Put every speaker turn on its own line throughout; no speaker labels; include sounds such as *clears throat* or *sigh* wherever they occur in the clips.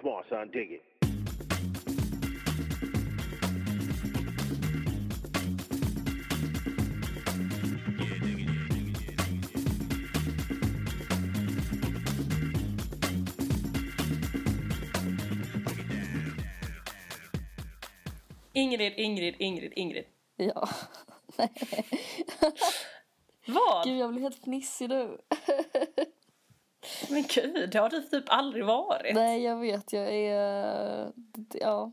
Come on, son, dig it.
Ingrid, Ingrid, Ingrid, Ingrid.
Ja. *laughs* Nej.
Vad?
Gud, jag blir helt fnissig nu.
Men gud, det har du typ aldrig varit.
Nej, jag vet. Jag är... Ja,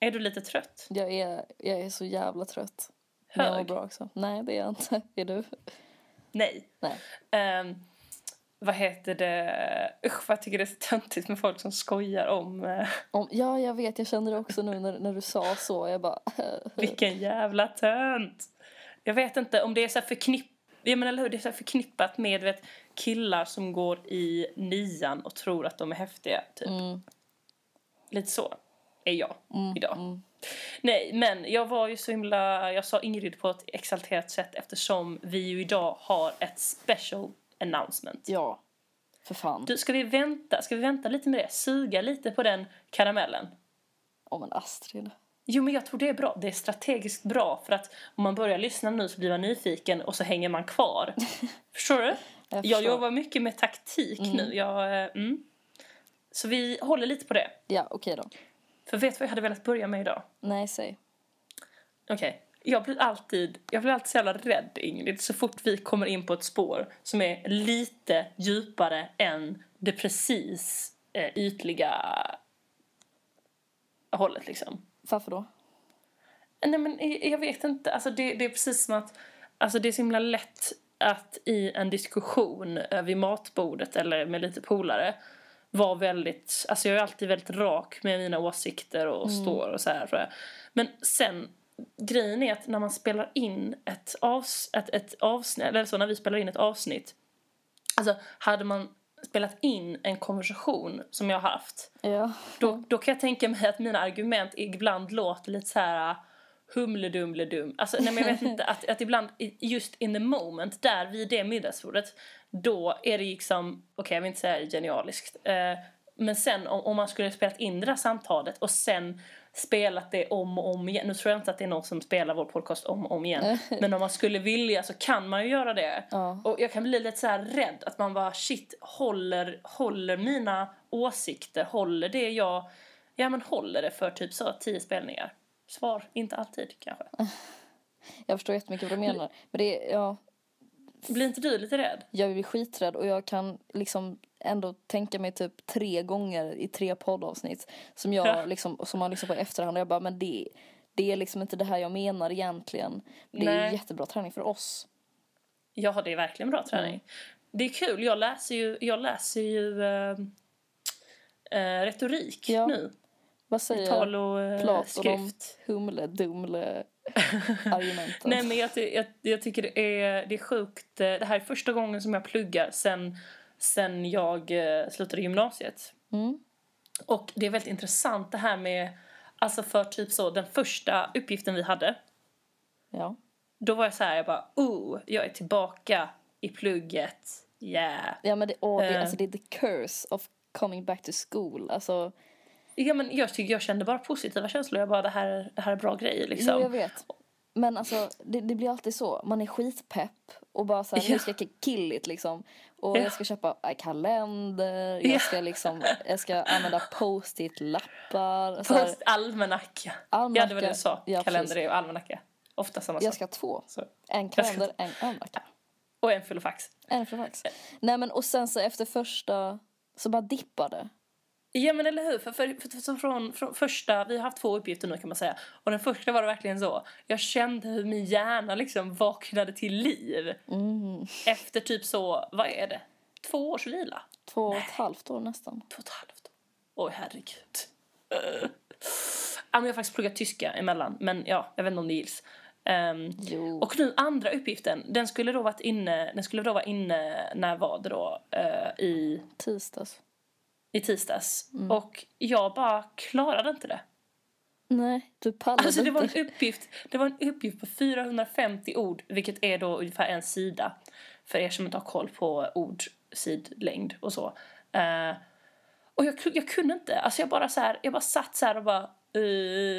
Är du lite trött?
jag är, jag är så jävla trött. Men jag mår
Hög?
bra också. Nej, det är jag inte. *laughs* Är du?
Nej.
Nej.
Ehm, vad heter det? Usch, vad jag tycker det är så töntigt med folk som skojar om eh,
Om, ja, jag vet. Jag kände det också nu när, när du sa så. Jag bara... *laughs* typ.
vilken jävla tönt. Jag vet inte om det är så här förknipp... Jag menar, eller hur? Det är så här förknippat med vet, killar som går i nian och tror att de är häftiga. Typ.
Mm,
Lite så är jag
mm,
idag.
Mm.
Nej, men jag var ju så himla... Jag sa Ingrid på ett exalterat sätt eftersom vi ju idag har ett special announcement.
Ja, för fan.
Du, ska vi vänta? Ska vi vänta lite med det? Suga lite på den karamellen?
Om en Astrid.
Jo, men jag tror det är bra. Det är strategiskt bra för att om man börjar lyssna nu så blir man nyfiken och så hänger man
*laughs*
kvar. Förstår du?
Jag
Jag
förstår.
jobbar mycket med taktik
Mm.
nu. Jag, eh, mm. Så vi håller lite på det.
Ja, okej då.
För vet du vad jag hade velat börja med idag?
Nej, säg.
Okej. Jag blir alltid, jag blir alltid så jävla rädd, Ingrid, så fort vi kommer in på ett spår som är lite djupare än det precis eh, ytliga hållet, liksom.
Varför då?
Nej, men jag- jag vet inte. Alltså, det, det är precis som att alltså, det är så himla lätt att i en diskussion eh, vid matbordet eller med lite polare vara väldigt, alltså jag är alltid väldigt rak med mina åsikter och står och så här. tror jag. Men sen, grejen är att när man spelar in ett, avs, ett, ett avsnitt, eller så när vi spelar in ett avsnitt, alltså hade man spelat in en konversation som jag haft
Ja.
då, då kan jag tänka mig att mina argument ibland låter lite så här äh, humledumledum. Alltså, nej, men jag vet inte, att, att ibland i- just in the moment, där vid det middagsbordet, då är det liksom, okej jag vill inte säga genialiskt, eh, men sen om, om man skulle ha spelat in det där samtalet och sen spelat det om och om igen, nu tror jag inte att det är någon som spelar vår podcast om och om igen, men om man skulle vilja så kan man ju göra det.
Ja.
Och jag kan bli lite så här rädd att man bara shit, håller, håller mina åsikter, håller det jag, ja men håller det för typ så tio spelningar? Svar, inte alltid kanske.
Jag förstår jättemycket vad du menar. Men det är, ja,
Blir inte du lite rädd?
jag blir skiträdd och jag kan liksom ändå tänka mig typ tre gånger i tre poddavsnitt som
Ja.
jag liksom, som man lyssnar på i efterhand och jag bara men det, det är liksom inte det här jag menar egentligen. Det är
Nej.
jättebra träning för oss.
Ja, det är verkligen bra träning.
Mm.
Det är kul, jag läser ju, jag läser ju eh, eh, retorik
Ja,
nu.
Vad säger
Tal och eh,
Platon om
skrift. *laughs*
humle dumle argumenten?
Nej men jag, ty- jag, jag tycker det är, det är sjukt. eh, Det här är första gången som jag pluggar sen, sen jag eh, slutade gymnasiet.
Mm.
Och det är väldigt intressant det här med, alltså för typ så den första uppgiften vi hade.
Ja.
Då var jag så här, jag bara oh, jag är tillbaka i plugget, yeah.
ja men det, åh, det,
Eh. alltså,
alltså, det är the curse of coming back to school. Alltså,
Ja men jag, tycker, jag kände bara positiva känslor, jag bara det här, det här är bra grejer liksom.
Jo, jag vet. Men alltså, det, det blir alltid så. Man är skitpepp och bara så här,
Ja.
nu ska jag kill it liksom. Och
Ja.
jag ska köpa eh, kalender,
Ja.
jag ska liksom, jag ska använda post-it-lappar. så här.
Post, almanacka. Ja det var det
Almanacka.
du sa,
Ja,
kalender
precis.
är ju almanacka. Ofta samma
Jag
sak.
ska ha två.
Så.
En
ska-
kalender, en almanacka.
Och en filofax.
En flax. Nej men och sen så efter första så bara dippade.
Ja men eller hur, för, för, för, så från, från första, vi har haft två uppgifter nu kan man säga och den första var det verkligen så, jag kände hur min hjärna liksom vaknade till liv
Mm.
efter typ så, vad är det, två års vila?
Två och ett halvt år nästan.
Två och ett halvt år. Oj herregud. Eh. Ja men jag har faktiskt pluggat tyska emellan men ja, jag vet inte om det gills. Ehm,
Jo.
och nu andra uppgiften, den skulle då varit inne, den skulle då vara inne, när var det då, Eh, i,
Tisdags.
i tisdags
Mm.
och jag bara klarade inte det.
Nej, du pallade
Alltså det
inte.
var en uppgift, det var en uppgift på 450 ord, vilket är då ungefär en sida. För er som inte har koll på ord, sidlängd och så. Eh, Och jag, ku- jag kunde inte. Alltså jag bara så här, jag bara satt så här och bara...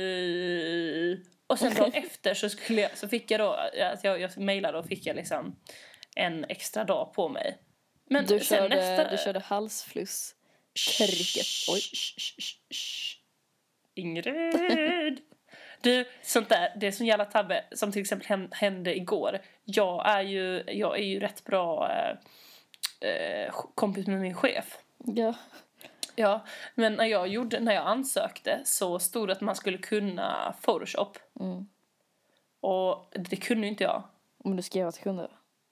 "Eh." Och sen dagen efter så, skulle jag, så fick jag då... Alltså jag, jag mejlade och fick jag liksom en extra dag på mig. Men
Du
sen
körde,
nästa...
du körde halsfluss. Kriket. Oj.
Ingrid! Du, sånt där, det är sån jävla tabbe som till exempel hän- hände igår. Jag är ju, jag är ju rätt bra eh, eh, kompis med min chef.
Ja.
Ja, men när jag, gjorde, när jag ansökte så stod det att man skulle kunna Photoshop.
Mm.
Och det kunde ju inte jag.
Men du skrev att du kunde.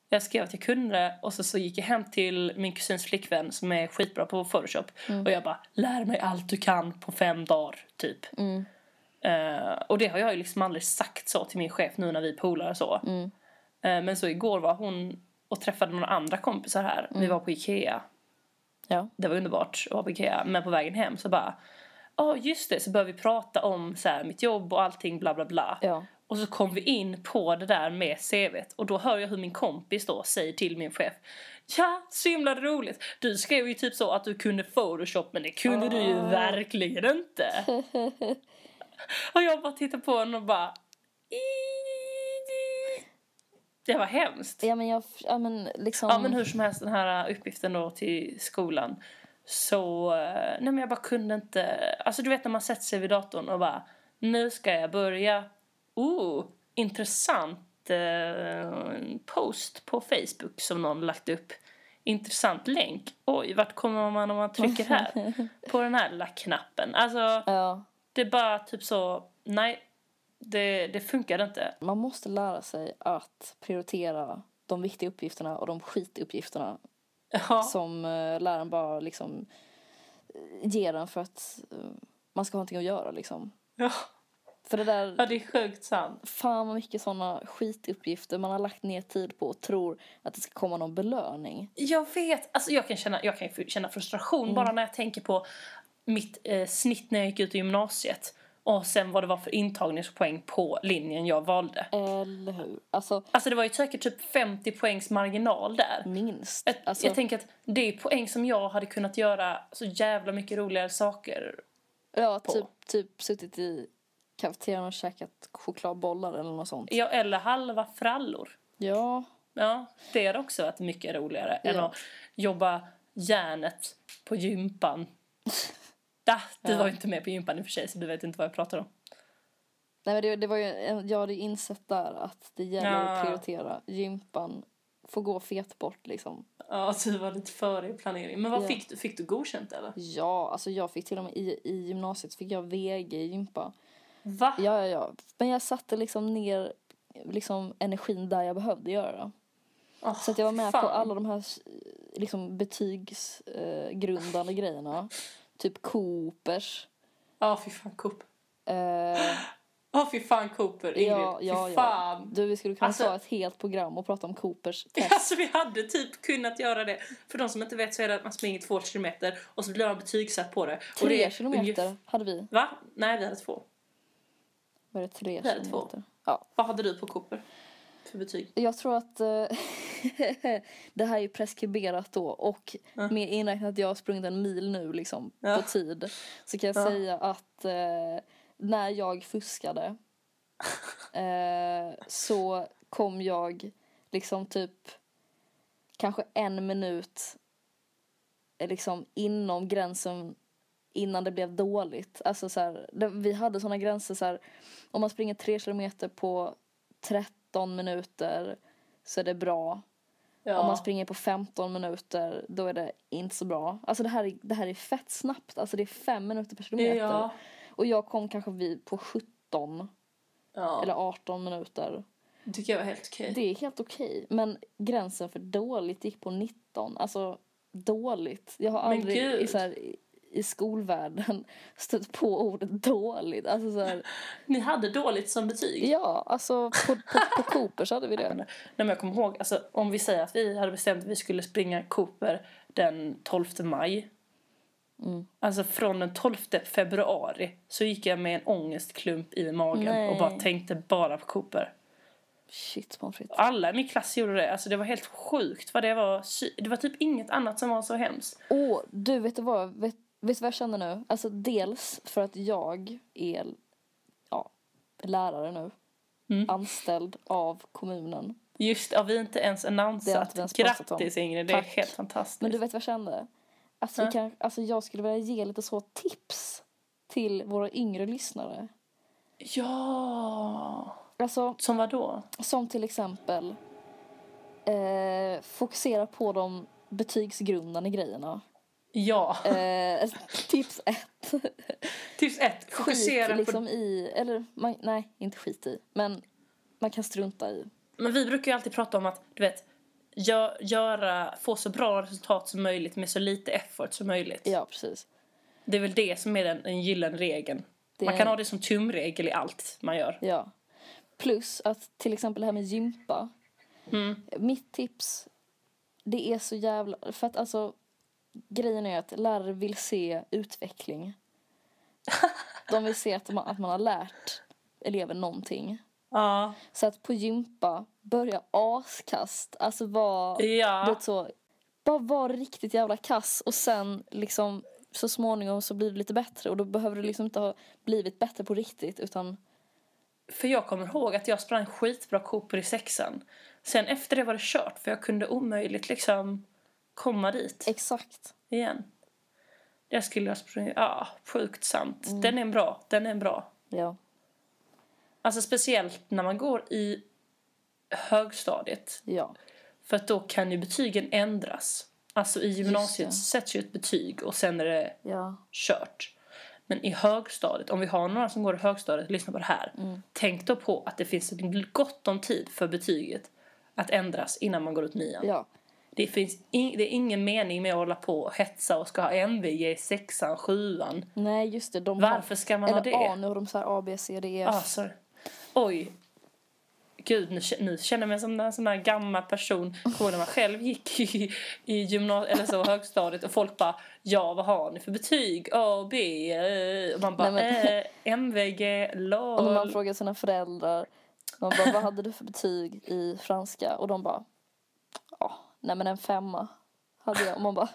Jag skrev att jag kunde det och så, så gick jag hem till min kusins flickvän som är skitbra på Photoshop.
Mm.
Och jag bara, lär mig allt du kan på fem dagar, typ.
Mm.
Eh, och det har jag ju liksom aldrig sagt så till min chef nu när vi är polare och så.
Mm.
Eh, men så igår var hon och träffade några andra kompisar här. Vi
Mm.
var på Ikea.
Ja.
Det var underbart att vara på Ikea. Men på vägen hem så bara, ja just det, så började vi prata om så här, mitt jobb och allting bla bla bla.
Ja.
Och så kom vi in på det där med CVt och då hör jag hur min kompis då säger till min chef Ja, så himla roligt! Du skrev ju typ så att du kunde photoshop men det kunde du ju verkligen inte! och jag bara tittar på honom och bara Det var hemskt!
Ja men jag, ja men liksom.
Ja men hur som helst den här äh, uppgiften då till skolan så, eh, nej men jag bara kunde inte, alltså du vet när man sätter sig vid datorn och bara nu ska jag börja, oh intressant eh, post på Facebook som någon lagt upp, intressant länk, oj vart kommer man om man trycker *laughs* här på den här lilla knappen, alltså
Ja.
det är bara typ så, nej det, det funkade inte.
Man måste lära sig att prioritera de viktiga uppgifterna och de skituppgifterna
Ja.
som eh, läraren bara liksom eh, ger en för att eh, man ska ha någonting att göra liksom.
ja,
För det där,
ja det är sjukt sant.
fan vad mycket sådana skituppgifter man har lagt ner tid på och tror att det ska komma någon belöning.
Jag vet. Alltså jag kan känna, jag kan känna frustration bara när jag tänker på mitt eh, snitt när jag gick ut i gymnasiet och sen vad det var för intagningspoäng på linjen jag valde.
Eller hur? Alltså,
Alltså det var ju säkert typ 50 poängs marginal där.
minst.
Jag,
Alltså,
jag tänker att det är poäng som jag hade kunnat göra så jävla mycket roligare saker.
ja,
på.
typ, typ suttit i kafeterian och käkat chokladbollar eller något sånt.
Ja, eller halva frallor.
Ja,
Ja, det är också att mycket roligare än
Ja.
att jobba järnet på gympan. *laughs* Da, du var ju inte med på gympan i och för sig så du vet inte vad jag pratar om.
Nej, men det, det var ju, en- jag hade ju insett där att det gäller
Ja.
att prioritera. Gympan får gå fet bort liksom.
Ja, du var lite före i planering. Men vad
Ja.
fick du? Fick du godkänt eller?
Ja, alltså jag fick till och med i, i gymnasiet fick jag VG i gympa.
Va?
Ja, ja, ja. Men jag satte liksom ner liksom energin där jag behövde göra.
Åh,
Så att jag var med
fan.
på alla de här s- liksom betygsgrundande eh, grundande grejerna. Typ Coopers.
Ja, fy fan Coop.
Eh,
Ja, fy fan Cooper, Ingrid.
ja, ja,
fy
ja.
fan.
Du, vi skulle kunna
Alltså-
ta ett helt program och prata
*laughs*
om Coopers test.
Alltså vi hade typ kunnat göra det. För de som inte vet så är det att man springer två kilometer och så blir man betygsatt på det. och det
Tre
är
kilometer
ungef-
hade vi.
Va? Nej, vi hade två.
Var det tre
Det är två.
kilometer? Ja.
Vad hade du på Cooper? För betyg?
Jag tror att eh, *laughs* det här är ju preskriberat då och med inräknat att jag har sprungit en mil nu liksom
Ja.
på tid så kan jag
Ja.
säga att eh, när jag fuskade eh, så kom jag liksom typ kanske en minut eh, liksom inom gränsen innan det blev dåligt. Alltså så här, det, vi hade såna gränser så här, om man springer tre kilometer på 13 minuter så är det bra.
Ja.
Om man springer på 15 minuter då är det inte så bra. Alltså det här är, det här är fett snabbt. Alltså det är fem minuter per kilometer.
Ja.
Och jag kom kanske vid på 17
Ja.
eller 18 minuter.
Det tycker jag var helt okej.
Det är helt okej. Men gränsen för dåligt gick på 19. Alltså dåligt. Jag har
Men
aldrig i,
gud.
så här, i, i skolvärlden *laughs* stött på ordet dåligt. Alltså så här,
Ni hade dåligt som betyg.
ja, alltså på, på, på Coopers hade vi
*laughs*
det.
Nej, men jag kommer ihåg, alltså, om vi säger att vi hade bestämt att vi skulle springa Cooper den 12 maj.
Mm.
Alltså från den 12 februari så gick jag med en ångestklump i magen
Nej.
och bara tänkte bara på Cooper.
Shit, pommes frites.
Alla i min klass gjorde det, alltså det var helt sjukt vad det var. sy- Det var typ inget annat som var så hemskt.
Åh, du vet du vad? Vet, Vet du vad jag känner nu? Alltså dels för att jag är ja, lärare nu.
Mm.
Anställd av kommunen.
Just ja, vi har inte ens
Det har inte vi ens
annonsat.
pratat om.
Grattis Ingrid, det är
Tack.
helt fantastiskt.
Men du vet vad jag kände? Alltså, vi
Ja.
kan, alltså jag skulle vilja ge lite så tips till våra yngre lyssnare.
Ja!
Alltså
Som vad då?
som till exempel eh, fokusera på de betygsgrundande grejerna.
Ja.
Eh, *laughs* tips ett.
Tips typ ett, fokusera
Skit
på...
liksom i, eller man, nej inte skit i, men man kan strunta i.
Men vi brukar ju alltid prata om att, du vet, gö- göra, få så bra resultat som möjligt med så lite effort som möjligt.
Ja precis.
Det är väl det som är den, den gyllene regeln.
Det
Man
är-
kan ha det som tumregel i allt man gör.
Ja. Plus att till exempel det här med gympa.
Mm.
Mitt tips, det är så jävla... För att alltså, grejen är att lärare vill se
*laughs*
utveckling. De vill se att man, att man har lärt eleven någonting.
Ja.
Så att på gympa, börja askast. Alltså var,
Ja.
vet så, bara var riktigt jävla kass och sen liksom så småningom så blir det lite bättre och då behöver du liksom inte ha blivit bättre på riktigt utan
För jag kommer ihåg att jag sprang skitbra Cooper i sexan. Sen efter det var det kört för jag kunde omöjligt liksom komma dit
exakt.
igen. Jag skulle ha sprungit, ja, sjukt sant.
Mm.
Den är en bra, den är en bra.
Ja.
Alltså speciellt när man går i högstadiet.
Ja,
För att då kan ju betygen ändras. Alltså i gymnasiet
det.
sätts ju ett betyg och sen är det
ja,
kört. Men i högstadiet, om vi har några som går i högstadiet och lyssnar på det här. Tänk då på att det finns gott om tid för betyget att ändras innan man går ut nian.
ja.
Det, finns in, det är ingen mening med att hålla på och hetsa och ska ha MVG i sexan, sjuan.
Nej, just det. De
Varför ska man ha
Eller
det?
A, nu har de så här A, B, C, D, E.
Ah, sorry. Oj. Gud, nu, k- nu känner jag mig som en sån där gammal person. Kommer ihåg när man själv gick i, i gymnasiet eller så högstadiet och folk bara Ja, vad har ni för betyg? A, B? eh." Och man bara
Nej, men-
eh, MVG,
Och när man
LOL.
frågar sina föräldrar, de bara, vad hade du för betyg i franska? Och de bara, ja, nej men en femma hade jag. Och man bara,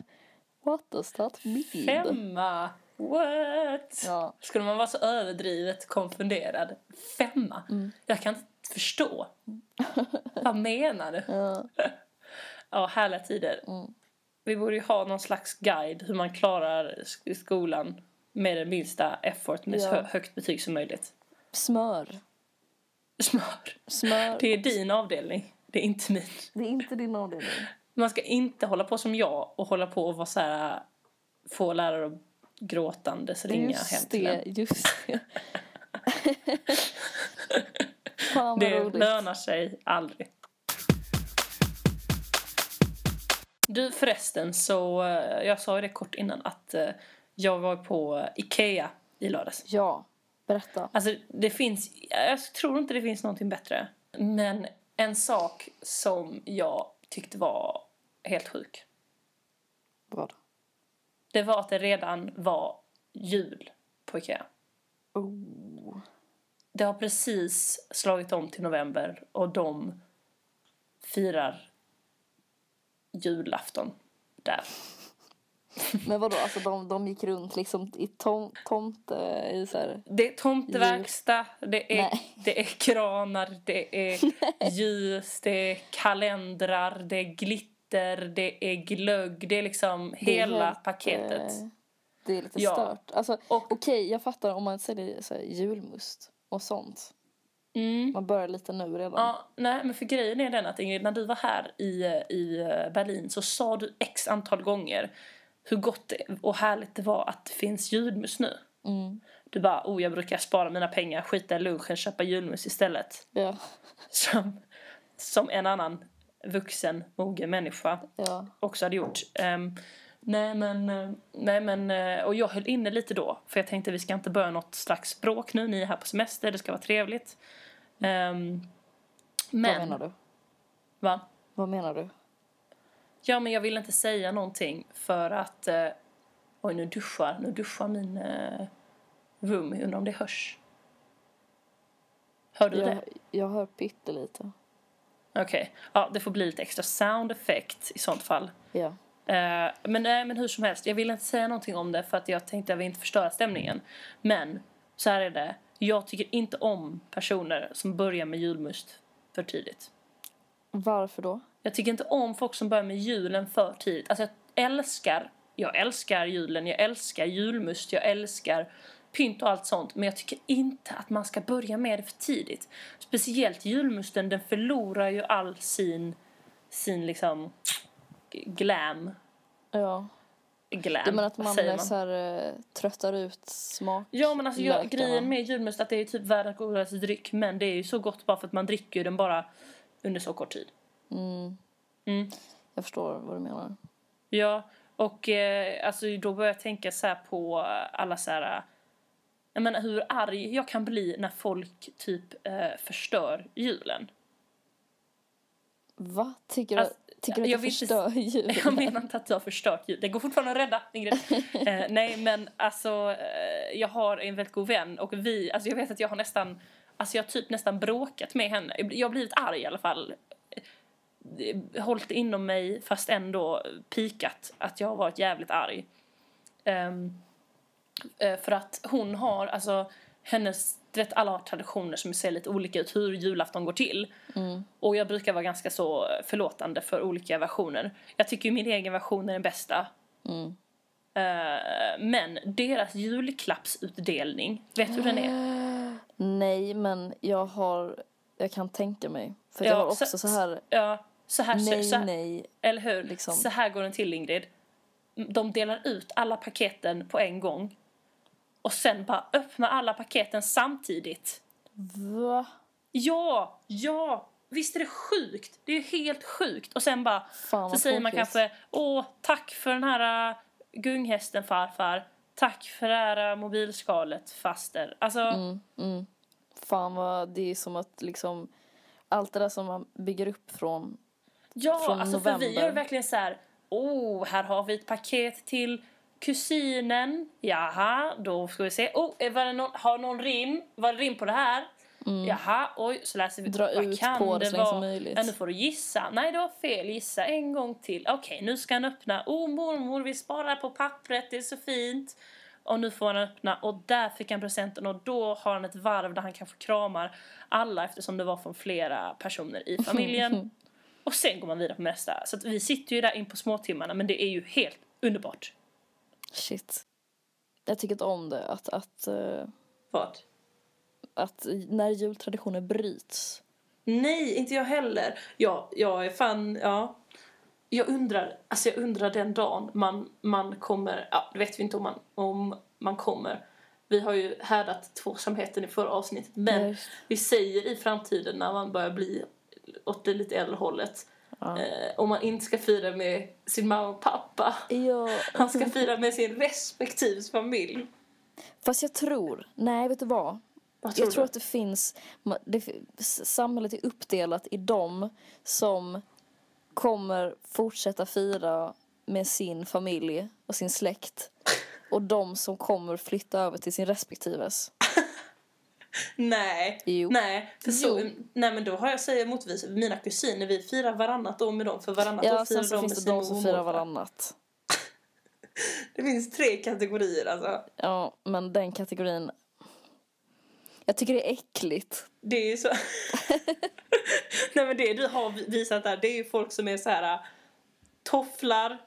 what does that mean?
Femma? What?
Ja,
Skulle man vara så överdrivet konfunderad? Femma?
Mm.
Jag kan inte förstå. Vad menar du?
ja,
Ja, härliga tider.
Mm.
Vi borde ju ha någon slags guide hur man klarar sk- skolan med den minsta effort med
Ja.
så hö- högt betyg som möjligt.
smör.
Smör.
Smör.
Det är din avdelning, det är inte min.
Det är inte din avdelning.
Man ska inte hålla på som jag och hålla på och vara så här, få lärare att gråtandes ringa hem
Just
till en.
det, just det. *laughs* Fan vad
Det
roligt.
lönar sig aldrig. Du förresten, så eh, jag sa ju det kort innan att eh, jag var på eh, Ikea i lördags.
Ja, berätta.
Alltså det finns, jag tror inte det finns någonting bättre. Men en sak som jag tyckte var helt sjuk.
Vad?
Det var att det redan var jul på Ikea.
Oh.
Det har precis slagit om till november och de firar julafton där.
Men vadå, alltså de, de gick runt liksom i tom, tomte i så här...
Det är tomteverkstad, det är,
Nej.
det är kranar, det
*laughs*
är ljus, det är kalendrar, det är glitter, det är glögg. Det är liksom
det är
hela
helt,
paketet.
eh, Det är lite
Ja.
stört. Alltså,
Och-
Okej, jag fattar om man säljer så här, julmust och sånt.
Mm.
Man börjar lite nu redan.
Ja, nej, men för grejen är den att Ingrid, när du var här i, i eh, Berlin så sa du x antal gånger hur gott det, och härligt det var att det finns julmust nu.
Mm.
Du bara, oh jag brukar spara mina pengar, skita i lunchen, köpa julmust istället.
Ja,
Som, som en annan vuxen, mogen människa
ja,
också hade gjort. Ehm, nej men, eh, nej men, eh, och jag höll inne lite då. För jag tänkte vi ska inte börja något slags bråk nu, ni är här på semester, det ska vara trevligt. Ehm,
vad
men,
menar du?
Va?
Vad menar du?
Ja, men jag vill inte säga någonting för att... Eh, oj, nu duschar, nu duschar min eh, room. Undrar om det hörs. Hör du det?
Jag, jag hör pyttelite.
Okej. Ja, det får bli lite extra sound effect i sånt fall.
Ja.
Eh, men, nej, men hur som helst, jag ville inte säga någonting om det för att jag tänkte att vi inte förstöra stämningen. Men så här är det, jag tycker inte om personer som börjar med julmust för tidigt.
Varför då?
Jag tycker inte om folk som börjar med julen för tidigt. Alltså jag älskar, jag älskar julen, jag älskar julmust, jag älskar pynt och allt sånt. Men jag tycker inte att man ska börja med det för tidigt. Speciellt julmusten, den förlorar ju all sin, sin liksom glam.
Ja.
Glam,
Du menar att
vad
man,
säger
eh, Så här, eh, tröttar ut smak?
Ja men alltså jag,
lökarna?
grejen med julmust är att det är ju typ världens godaste dryck men det är ju så gott bara för att man dricker ju den bara under så kort tid.
Mm.
Mm.
Jag förstår vad du menar.
Ja, och eh, alltså, då börjar jag tänka så här på eh, alla så här... eh, Jag menar hur arg jag kan bli när folk typ eh, förstör julen.
Va? Tycker du,
Alltså,
tycker du
jag
att det
vill inte- *laughs*
förstör julen?
Jag menar inte att du har förstört jul. Det går fortfarande att rädda, Ingrid. Eh, nej, men alltså eh, jag har en väldigt god vän och vi, alltså jag vet att jag har nästan, alltså jag har typ nästan bråkat med henne. Jag har blivit arg i alla fall. Eh, Hållit inom mig fast ändå pikat att jag har varit jävligt arg. Ehm, eh, för att hon har, alltså hennes, du vet alla har traditioner som ser lite olika ut hur julafton går till.
Mm.
Och jag brukar vara ganska så förlåtande för olika versioner. Jag tycker ju min egen version är den bästa.
Mm.
Eh, men deras julklappsutdelning, vet du hur den är?
Ah. Nej, men jag har... Jag kan tänka mig. För
Ja,
jag har också
så-
så, här...
Ja, så här, så,
Nej,
så här
nej.
eller hur?
liksom.
Så här går den till Ingrid. De delar ut alla paketen på en gång. Och sen bara öppnar alla paketen samtidigt.
Va?
Ja, ja, visst är det sjukt? Det är ju helt sjukt. Och sen bara,
Fan, vad
så säger man
tråkigt.
kanske åh tack för den här äh, gunghästen farfar. Tack för det här äh, mobilskalet faster. Alltså,
Mm, mm. Fan, vad... Det är som att liksom... Allt det där som man bygger upp från...
ja,
från
alltså för vi
november.
gör verkligen så här, åh här har vi ett paket till kusinen. Jaha, då ska vi se. Oh, är- var det någon, har någon rim? Var det rim på det här?
Mm.
Jaha, oj, så läser vi.
Dra ut på det så länge som möjligt.
Ja, nu får du gissa. Nej, det var fel. Gissa en gång till. Okej, nu ska han öppna. Oh, mormor, vi sparar på pappret. Det är så fint. Och nu får han öppna och där fick han presenten och då har han ett varv där han kanske kramar alla eftersom det var från flera personer i
*laughs*
familjen. och sen går man vidare på nästa. Så att vi sitter ju där in på småtimmarna men det är ju helt underbart.
Shit. Jag tycker inte om det. Att, att, eh,
Vad?
att när jultraditioner bryts.
Nej, inte jag heller. Jag, jag är fan, ja. Jag undrar, alltså jag undrar den dagen man, man kommer, ja det vet vi inte om man, om man kommer. Vi har ju härdat tvåsamheten i förra avsnittet men
Ja, just.
vi säger i framtiden när man börjar bli åt det lite äldre hållet
Ja.
eh, om man inte ska fira med sin mamma och pappa.
Ja.
Han ska fira med sin respektive familj.
Fast jag tror... Nej, vet du vad?
Vad
jag tror
du?
att det finns... ma- Det, fi- s- samhället är uppdelat i dem som kommer fortsätta fira med sin familj och
*laughs*
sin släkt och de som kommer flytta över till sin respektives.
Nej.
Jo.
Nej, för så,
Jo.
nej men då har jag säger motvis mina kusiner, vi firar varannat år med dem för varannat år firar
Ja, sen
de
så
med
finns
sin
det de
mormor och
som firar
morfar.
varannat.
Det finns tre kategorier alltså.
Ja, men den kategorin... Jag tycker det är äckligt.
Det är ju
*laughs*
så... nej men det du har visat där, det är ju folk som är så här äh, tofflar,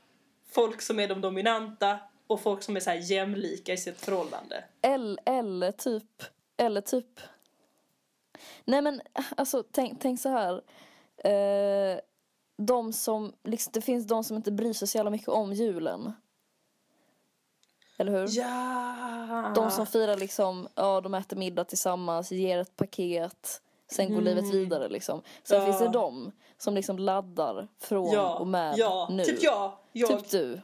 folk som är de dominanta och folk som är så här jämlika i sitt förhållande.
Eller, eller typ... Eller typ... Nej, men alltså, tänk, tänk så här. Eh, de som, liksom, det finns de som inte bryr sig så jävla mycket om julen. Eller hur?
Ja!
De som firar liksom, ja, de äter middag tillsammans, ger ett paket. Sen går livet vidare. Liksom. Sen
Mm. Ja.
finns det de som liksom laddar från
ja,
och med
ja,
nu.
Typ jag, jag
Typ du.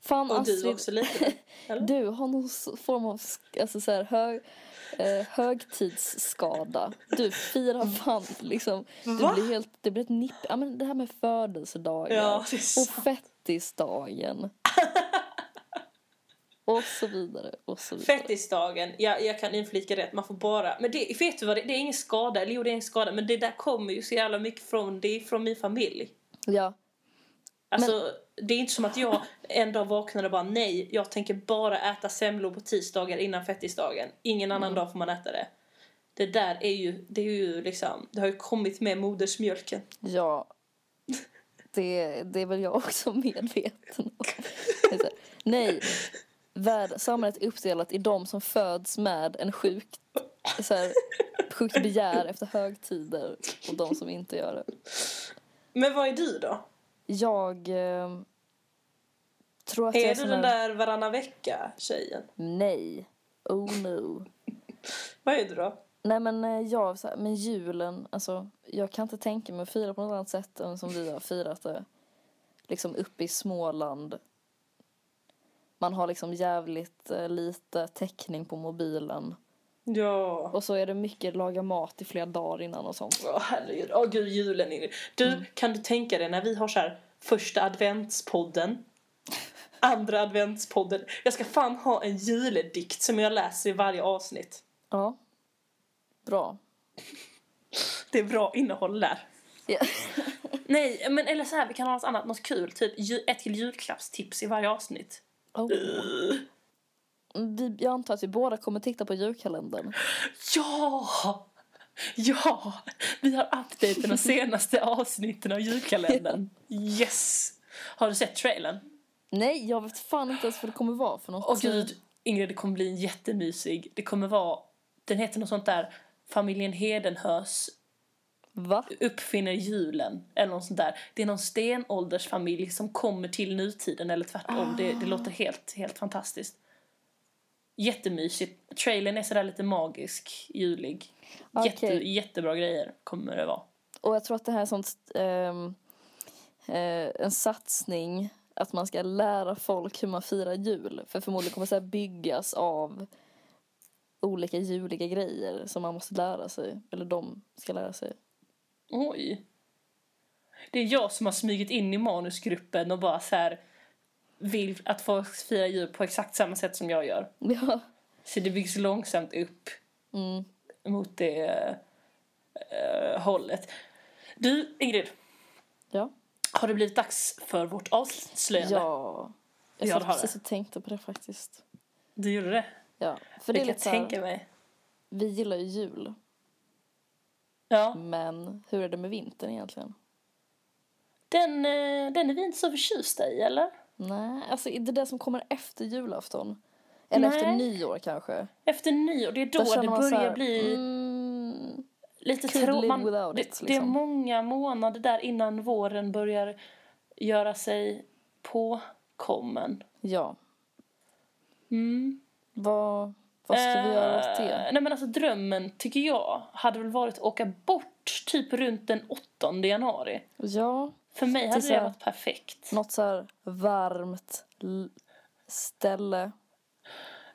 Fan,
och
Astrid,
du också lite.
*laughs*
eller?
du har någon s- form av sk- alltså så här, hög, eh, högtidsskada. Du firar fan liksom. Du
Mm. Va?
blir helt, det blir ett nipp. Ja, men det här med födelsedagar
Ja, det är
och
sant. *laughs*
fettisdagen. och så vidare och så vidare.
Fettisdagen, ja, jag kan inflika det, man får bara... Men det, vet du vad, det, det är ingen skada, eller jo det är en skada, men det där kommer ju så jävla mycket från, det är från min familj.
Ja,
Alltså, det är inte som att jag en dag vaknade och bara nej, jag tänker bara äta semlor på tisdagar innan fettisdagen. Ingen annan dag får man äta det. Det där är ju, det är ju liksom, det har ju kommit med modersmjölken.
Ja. Det, det är väl jag också medveten om. Det är så här, Nej. Värld, samhället är uppdelat i de som föds med en sjukt, så här, sjukt begär efter högtider och de som inte gör det.
Men vad är du då?
Jag eh, tror att jag
Är du
sån
den
här-
där varannan vecka tjejen?
Nej. Oh no.
Vad är du då?
Nej men eh, jag, så här, men julen, alltså jag kan inte tänka mig att fira på något annat sätt än som vi har firat det. Liksom uppe i Småland. Man har liksom jävligt eh, lite täckning på mobilen.
Ja.
Och så är det mycket laga mat i flera dagar innan och sånt.
Åh herregud, åh gud julen Ingrid. Du, kan du tänka dig när vi har så här första adventspodden, andra adventspodden. Jag ska fan ha en juledikt som jag läser i varje avsnitt.
Ja. Bra.
Det är bra innehåll där.
Ja. *laughs*
Nej, men eller så här, vi kan ha något annat, något kul. Typ ju- ett till julklappstips i varje avsnitt.
Oh. Vi, jag antar att vi båda kommer titta på julkalendern.
Ja! Ja! Vi har updaten de senaste avsnitten av julkalendern. *laughs* Yes! Har du sett trailern?
Nej, jag vet fan inte ens vad det kommer vara för något.
Åh gud, Ingrid, det kommer bli en jättemysig. Det kommer vara, den heter något sånt där Familjen Hedenhös
Va?
uppfinner julen eller något sånt där. Det är någon stenåldersfamilj som kommer till nutiden eller tvärtom. Det, det låter helt, helt fantastiskt. Jättemysigt. Trailern är sådär lite magisk, julig. Jätte,
Okej.
Jättebra grejer kommer det vara.
Och jag tror att det här är sånt, ehm, eh, en satsning att man ska lära folk hur man firar jul. För förmodligen kommer det så här byggas av olika juliga grejer som man måste lära sig. Eller de ska lära sig. *laughs*
Oj. Det är jag som har smugit in i manusgruppen och bara så här vill att folk firar jul på exakt samma sätt som jag gör.
Ja.
Så det byggs långsamt upp
Mm.
mot det eh, hållet. Du, Ingrid,
Ja.
har det blivit dags för vårt avslöjande?
ja. Jag
Ja, det
satt
har
precis och tänkte på det faktiskt.
Du gjorde det?
Ja. För
det
det är
kan
lite
jag
så här,
tänka mig.
vi gillar ju jul.
Ja.
Mm. Men hur är det med vintern egentligen?
Den, eh, den är vi inte så förtjusta i, eller?
Nej, alltså det där som kommer efter julafton. Eller
Nej.
efter nyår kanske.
Efter nyår, det är då,
känner
det
man
börjar
så här,
bli...
Mm,
lite
Could
trå-
live
man,
without
det,
it,
det är
liksom.
många månader där innan våren börjar göra sig påkommen.
ja,
Mm.
vad, vad ska vi göra åt det?
Eh, Nej men alltså drömmen tycker jag hade väl varit att åka bort typ runt den 8 januari.
Ja,
För mig hade
så
det
här-
varit perfekt.
något så här varmt l- ställe.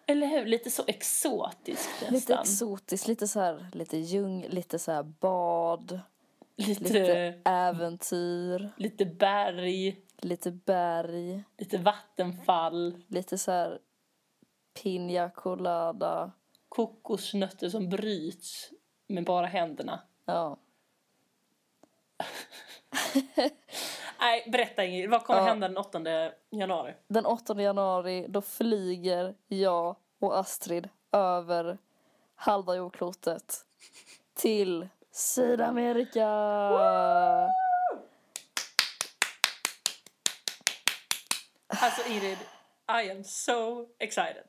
Eller hur? Lite så exotiskt nästan.
Lite exotiskt, lite så här, lite ljung, lite så här bad,
lite,
lite
lite...
äventyr,
lite berg,
lite berg,
lite vattenfall,
lite så här pina colada.
kokosnötter som bryts med bara händerna.
Ja.
Nej, berätta Ingrid. Vad kommer
Ja.
hända den 8 januari?
Den 8 januari då flyger jag och Astrid över halva jordklotet till Sydamerika.
Alltså Ingrid, I am so excited.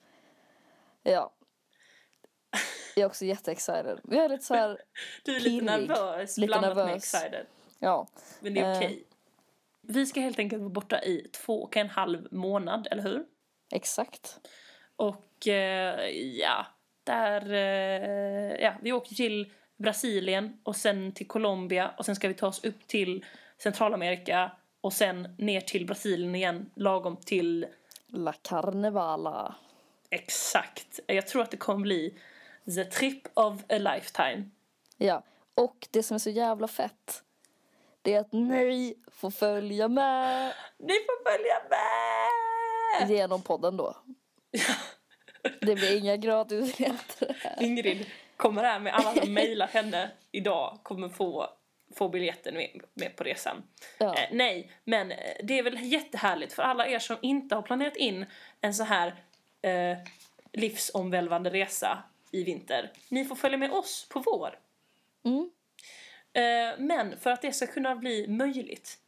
Ja. Jag är också jätteexcited. Vi har lite
*laughs*
så här,
Du är lite
Pirrig.
nervös
Lite
blandat med
nervös.
excited.
ja.
Men det är
Eh.
okej. Vi ska helt enkelt vara borta i två och en halv månad, eller hur?
Exakt.
Och eh, ja, där... Eh, ja, vi åker till Brasilien och sen till Colombia och sen ska vi ta oss upp till Centralamerika och sen ner till Brasilien igen lagom till
La Carnevala.
Exakt. Jag tror att det kommer bli the trip of a lifetime.
Ja. Och det som är så jävla fett det är att ni får
*laughs*
följa med
Ni får följa med!
genom podden då. Det blir inga gratisbiljetter.
Ingrid kommer här med alla som mejlar henne idag kommer få får biljetten med, med på resan.
Ja.
Eh, nej, men eh, det är väl jättehärligt för alla er som inte har planerat in en så här eh, livsomvälvande resa i vinter. Ni får följa med oss på vår.
Mm.
Eh, men för att det ska kunna bli möjligt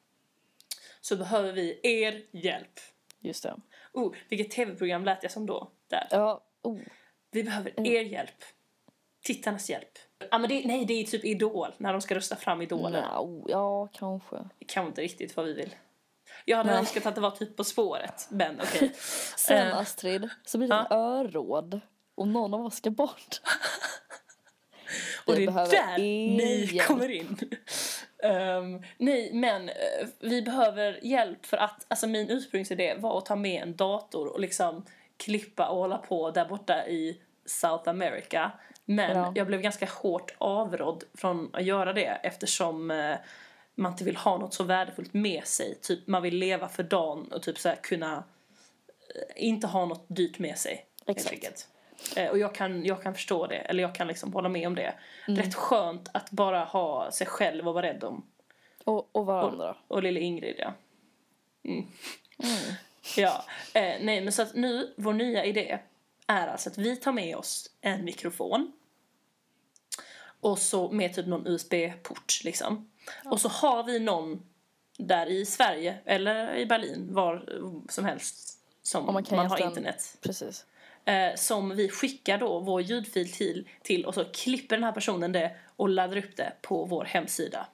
så behöver vi er hjälp.
Just det.
Oh, vilket tv-program lät jag som då? Där.
Ja. Oh.
Vi behöver
Mm.
er hjälp. Tittarnas hjälp. Ja, men det, nej, det är typ Idol, när de ska rösta fram idolerna.
Nja, ja, kanske.
Det kan inte riktigt vad vi vill. Jag hade
Nej.
önskat att det var typ På spåret, men okej.
*laughs* Sen
Eh.
Astrid, så blir det ett öråd och någon av oss ska bort.
Och
Vi
det är
behöver
där ni
hjälp.
kommer in. Ehm, nej, men eh, vi behöver hjälp för att alltså min ursprungsidé var att ta med en dator och liksom klippa och hålla på där borta i South America. Men
Ja.
jag blev ganska hårt avrådd från att göra det eftersom eh, man inte vill ha något så värdefullt med sig. Typ man vill leva för dagen och typ så här kunna eh, inte ha något dyrt med sig. helt
Exakt.
enkelt. Eh, Och jag kan, jag kan förstå det, eller jag kan liksom hålla med om det. Rätt skönt att bara ha sig själv och vara rädd om.
Och, och varandra.
*laughs* Och lilla Ingrid, ja. Mm.
Mm.
*laughs* ja. Eh, nej, men så att nu, vår nya idé är alltså att vi tar med oss en mikrofon. Och så med typ någon USB-port liksom. Och så har vi någon där i Sverige, eller i Berlin, var som helst. Som
Om
man,
man kan
har
just den-
internet
Precis.
eh, som vi skickar då vår ljudfil till, till och så klipper den här personen det och laddar upp det på vår hemsida.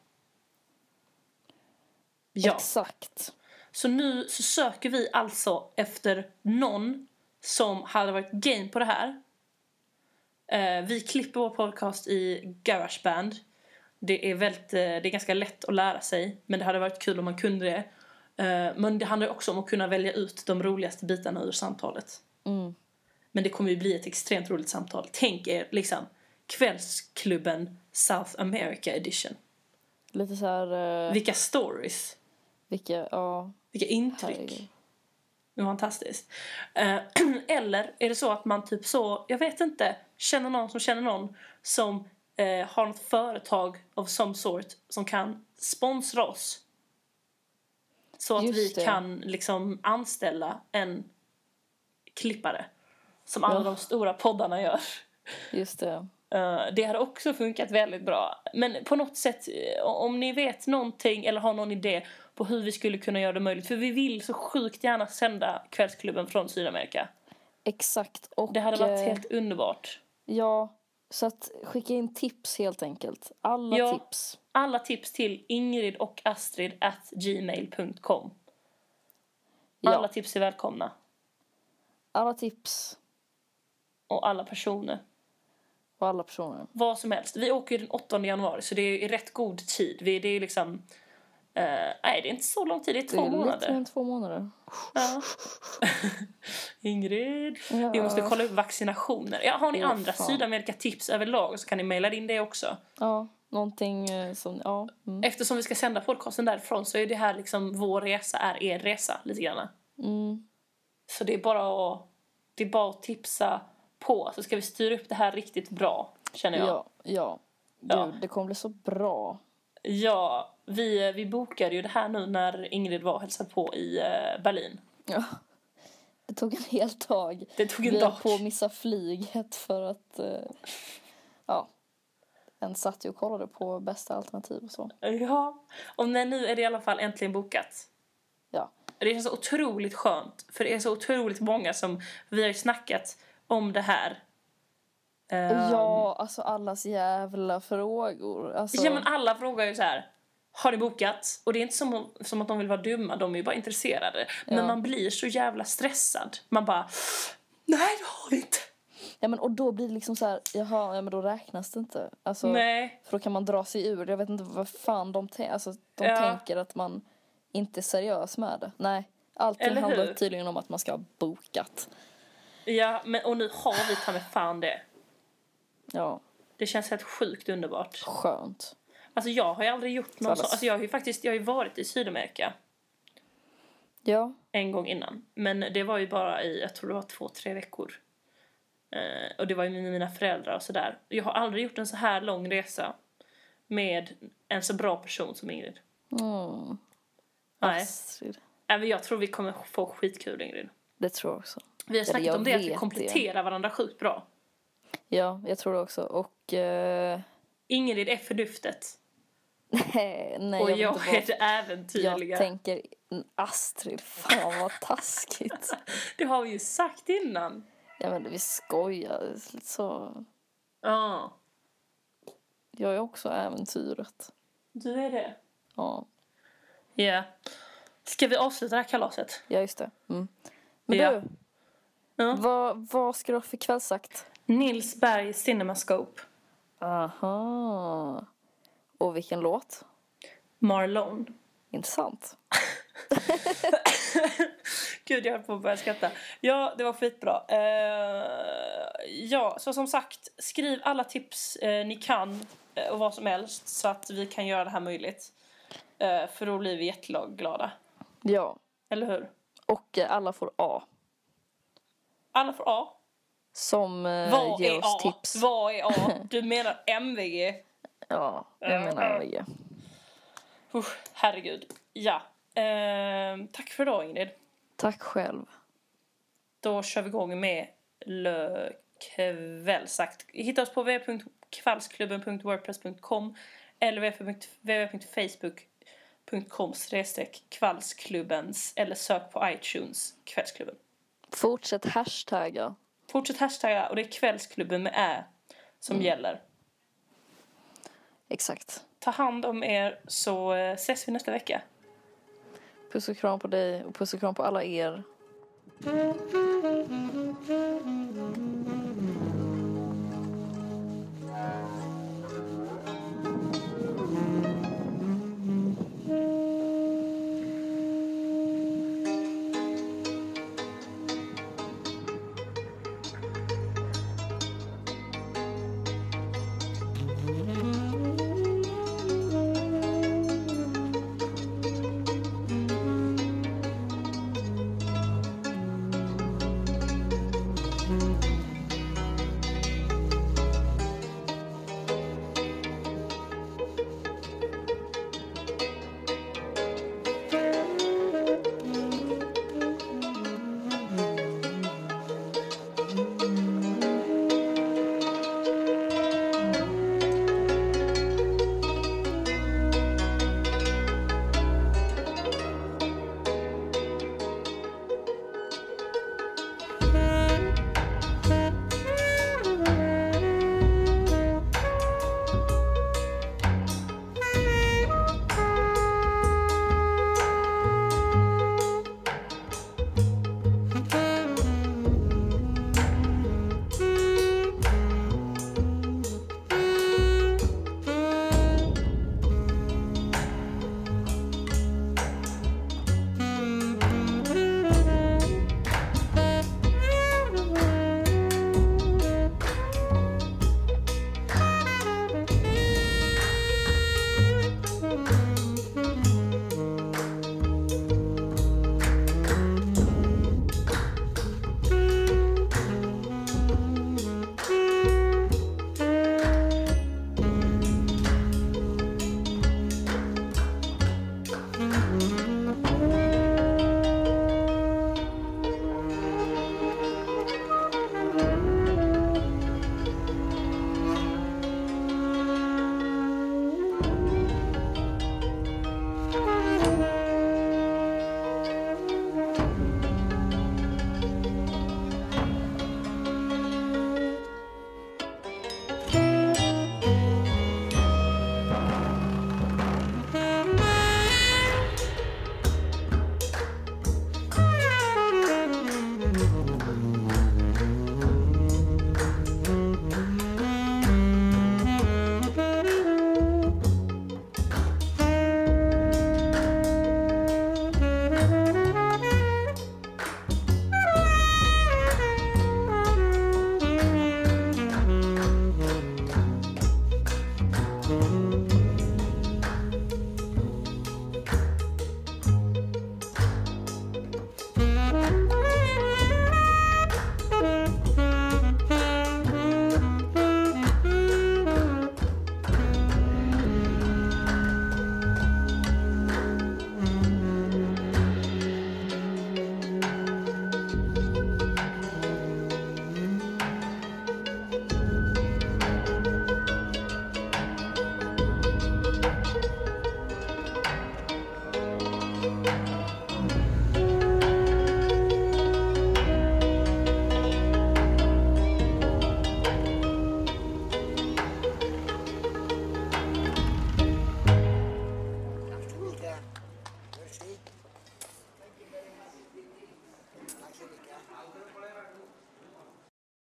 Ja,
Exakt.
så nu så söker vi alltså efter någon som hade varit game på det här. Eh, vi klipper vår podcast i Garageband. Det är, väldigt, eh, det är ganska lätt att lära sig, men det hade varit kul om man kunde det. Eh, men det handlar också om att kunna välja ut de roligaste bitarna ur samtalet.
Mm.
Men det kommer ju bli ett extremt roligt samtal. Tänk er liksom kvällsklubben South America edition.
Lite så här... eh,
Vilka stories,
vilka... Ja.
vilka
herregud.
intryck. Det var fantastiskt. Eh, *clears throat* Eller är det så att man typ så, jag vet inte, känner någon som känner någon som eh, har något företag av some sort som kan sponsra oss. Så att
Just
vi
det.
kan liksom anställa en klippare. Som alla
Ja.
de stora poddarna gör.
Just det.
Eh, det har också funkat väldigt bra. Men på något sätt, eh, om ni vet någonting eller har någon idé på hur vi skulle kunna göra det möjligt. För vi vill så sjukt gärna sända Kvällsklubben från Sydamerika.
Exakt. Och,
Det hade varit
eh,
helt underbart.
Ja, så att skicka in tips helt enkelt. Alla
Ja.
tips.
Alla tips till ingrid och astrid at gmail.com.
Ja.
Alla tips är välkomna.
Alla tips
Och alla personer.
och alla personer.
Vad som helst. Vi åker ju den 8 januari så det är i rätt god tid. Vi, det är liksom... eh, nej, det är inte så lång tid. Det är
Det
två
är lite mer
månader.
än två månader.
Ja. Ingrid.
Ja.
Vi måste kolla upp vaccinationer. Ja, har ni
Åh,
andra
fan.
Sydamerika-tips överlag så kan ni mejla in det också.
Ja, någonting eh, som... Ja. Mm.
Eftersom vi ska sända podcasten därifrån så är det här liksom vår resa är er resa lite grann.
Mm.
Så det är bara att, det är bara att tipsa på så ska vi styra upp det här riktigt bra känner jag. Ja,
Ja, ja.
Ja.
Gud, det kommer bli så bra.
vi, vi bokade ju det här nu när Ingrid var och hälsade på i eh, Berlin.
Ja. Det tog en hel dag.
Det tog en
Vi
dag.
höll på att missa flyget för att... Eh, ja. En satt ju och kollade på bästa alternativ och så.
Ja, och men nu är det i alla fall äntligen bokat.
Ja.
Det känns så otroligt skönt, för det är så otroligt många som... Vi har ju snackat om det här. Ehm,
Ja, alltså allas jävla frågor. Alltså,
ja, men alla frågar ju så här... Har ni bokat? Och det är inte som, som att de vill vara dumma, de är ju bara intresserade. Men
Ja.
man blir så jävla stressad. Man bara... Nej, det har vi inte!
ja, men, och då blir det liksom så här, jaha, ja, men då räknas det inte. Alltså,
Nej.
För då kan man dra sig ur det. Jag vet inte vad fan de tänker. Alltså, de
Ja.
tänker att man inte är seriös med det. Nej, allting
Eller
handlar
hur?
tydligen om att man ska ha bokat.
Ja, men, och nu har vi ta med fan det.
Ja,
Det känns helt sjukt underbart.
skönt.
Alltså jag har ju aldrig gjort någon
Kallas.
sån... Alltså jag har ju faktiskt jag har ju varit i Sydamerika
Ja,
en gång innan. Men det var ju bara i, jag tror det var två, tre veckor. Eh, och det var ju med mina föräldrar och sådär. Jag har aldrig gjort en så här lång resa. med en så bra person som Ingrid.
Mm.
Nej.
Astrid.
Även jag tror vi kommer få skitkul Ingrid.
Det tror jag också.
Vi har
Eller
snackat
jag
om det att vi
vet det.
kompletterar varandra sjukt bra.
Ja, jag tror det också. Och... eh, *laughs*
Ingrid är förnuftet
nej, nej,
och
vill
jag,
inte vara-
är det äventyrliga.
Jag tänker Astrid, fan vad taskigt.
*laughs* Det har vi ju sagt innan.
ja men vi skojar. det är lite Så,
Ja,
jag är också äventyret.
du är det.
Ja,
Ja. Ska vi avsluta det här kalaset?
ja just det. Mm. Men
Ja.
du,
Ja.
vad, vad ska du ha för kvällsakt?
Nils Berg Cinemascope,
Aha. Och vilken låt?
Marlon.
Intressant.
Gud, jag höll på att börja skratta. Ja, det var skitbra. Eh, ja, så som sagt, skriv alla tips eh, ni kan eh, och vad som helst så att vi kan göra det här möjligt. Eh, för då blir vi jätteglada,
Ja,
eller hur?
och eh, alla får A.
Alla får A.
Som eh,
Vad
ger
är
oss
A?
tips.
Vad är A?
*laughs*
Du menar MVG?
Ja, jag menar AVG.
Usch, herregud. Ja. Eh, tack för idag, Ingrid.
Tack själv.
Då kör vi igång med Le kvällsakt. Hitta oss på www.kvallsklubben.wordpress.com eller www.facebook.com kvallsklubbens eller sök på iTunes kvällsklubben.
Fortsätt hashtagga.
Fortsätt hashtagga och det är kvällsklubben med ä som gäller.
Exakt.
Ta hand om er så eh, ses vi nästa vecka.
Puss och kram på dig och puss och kram på alla er.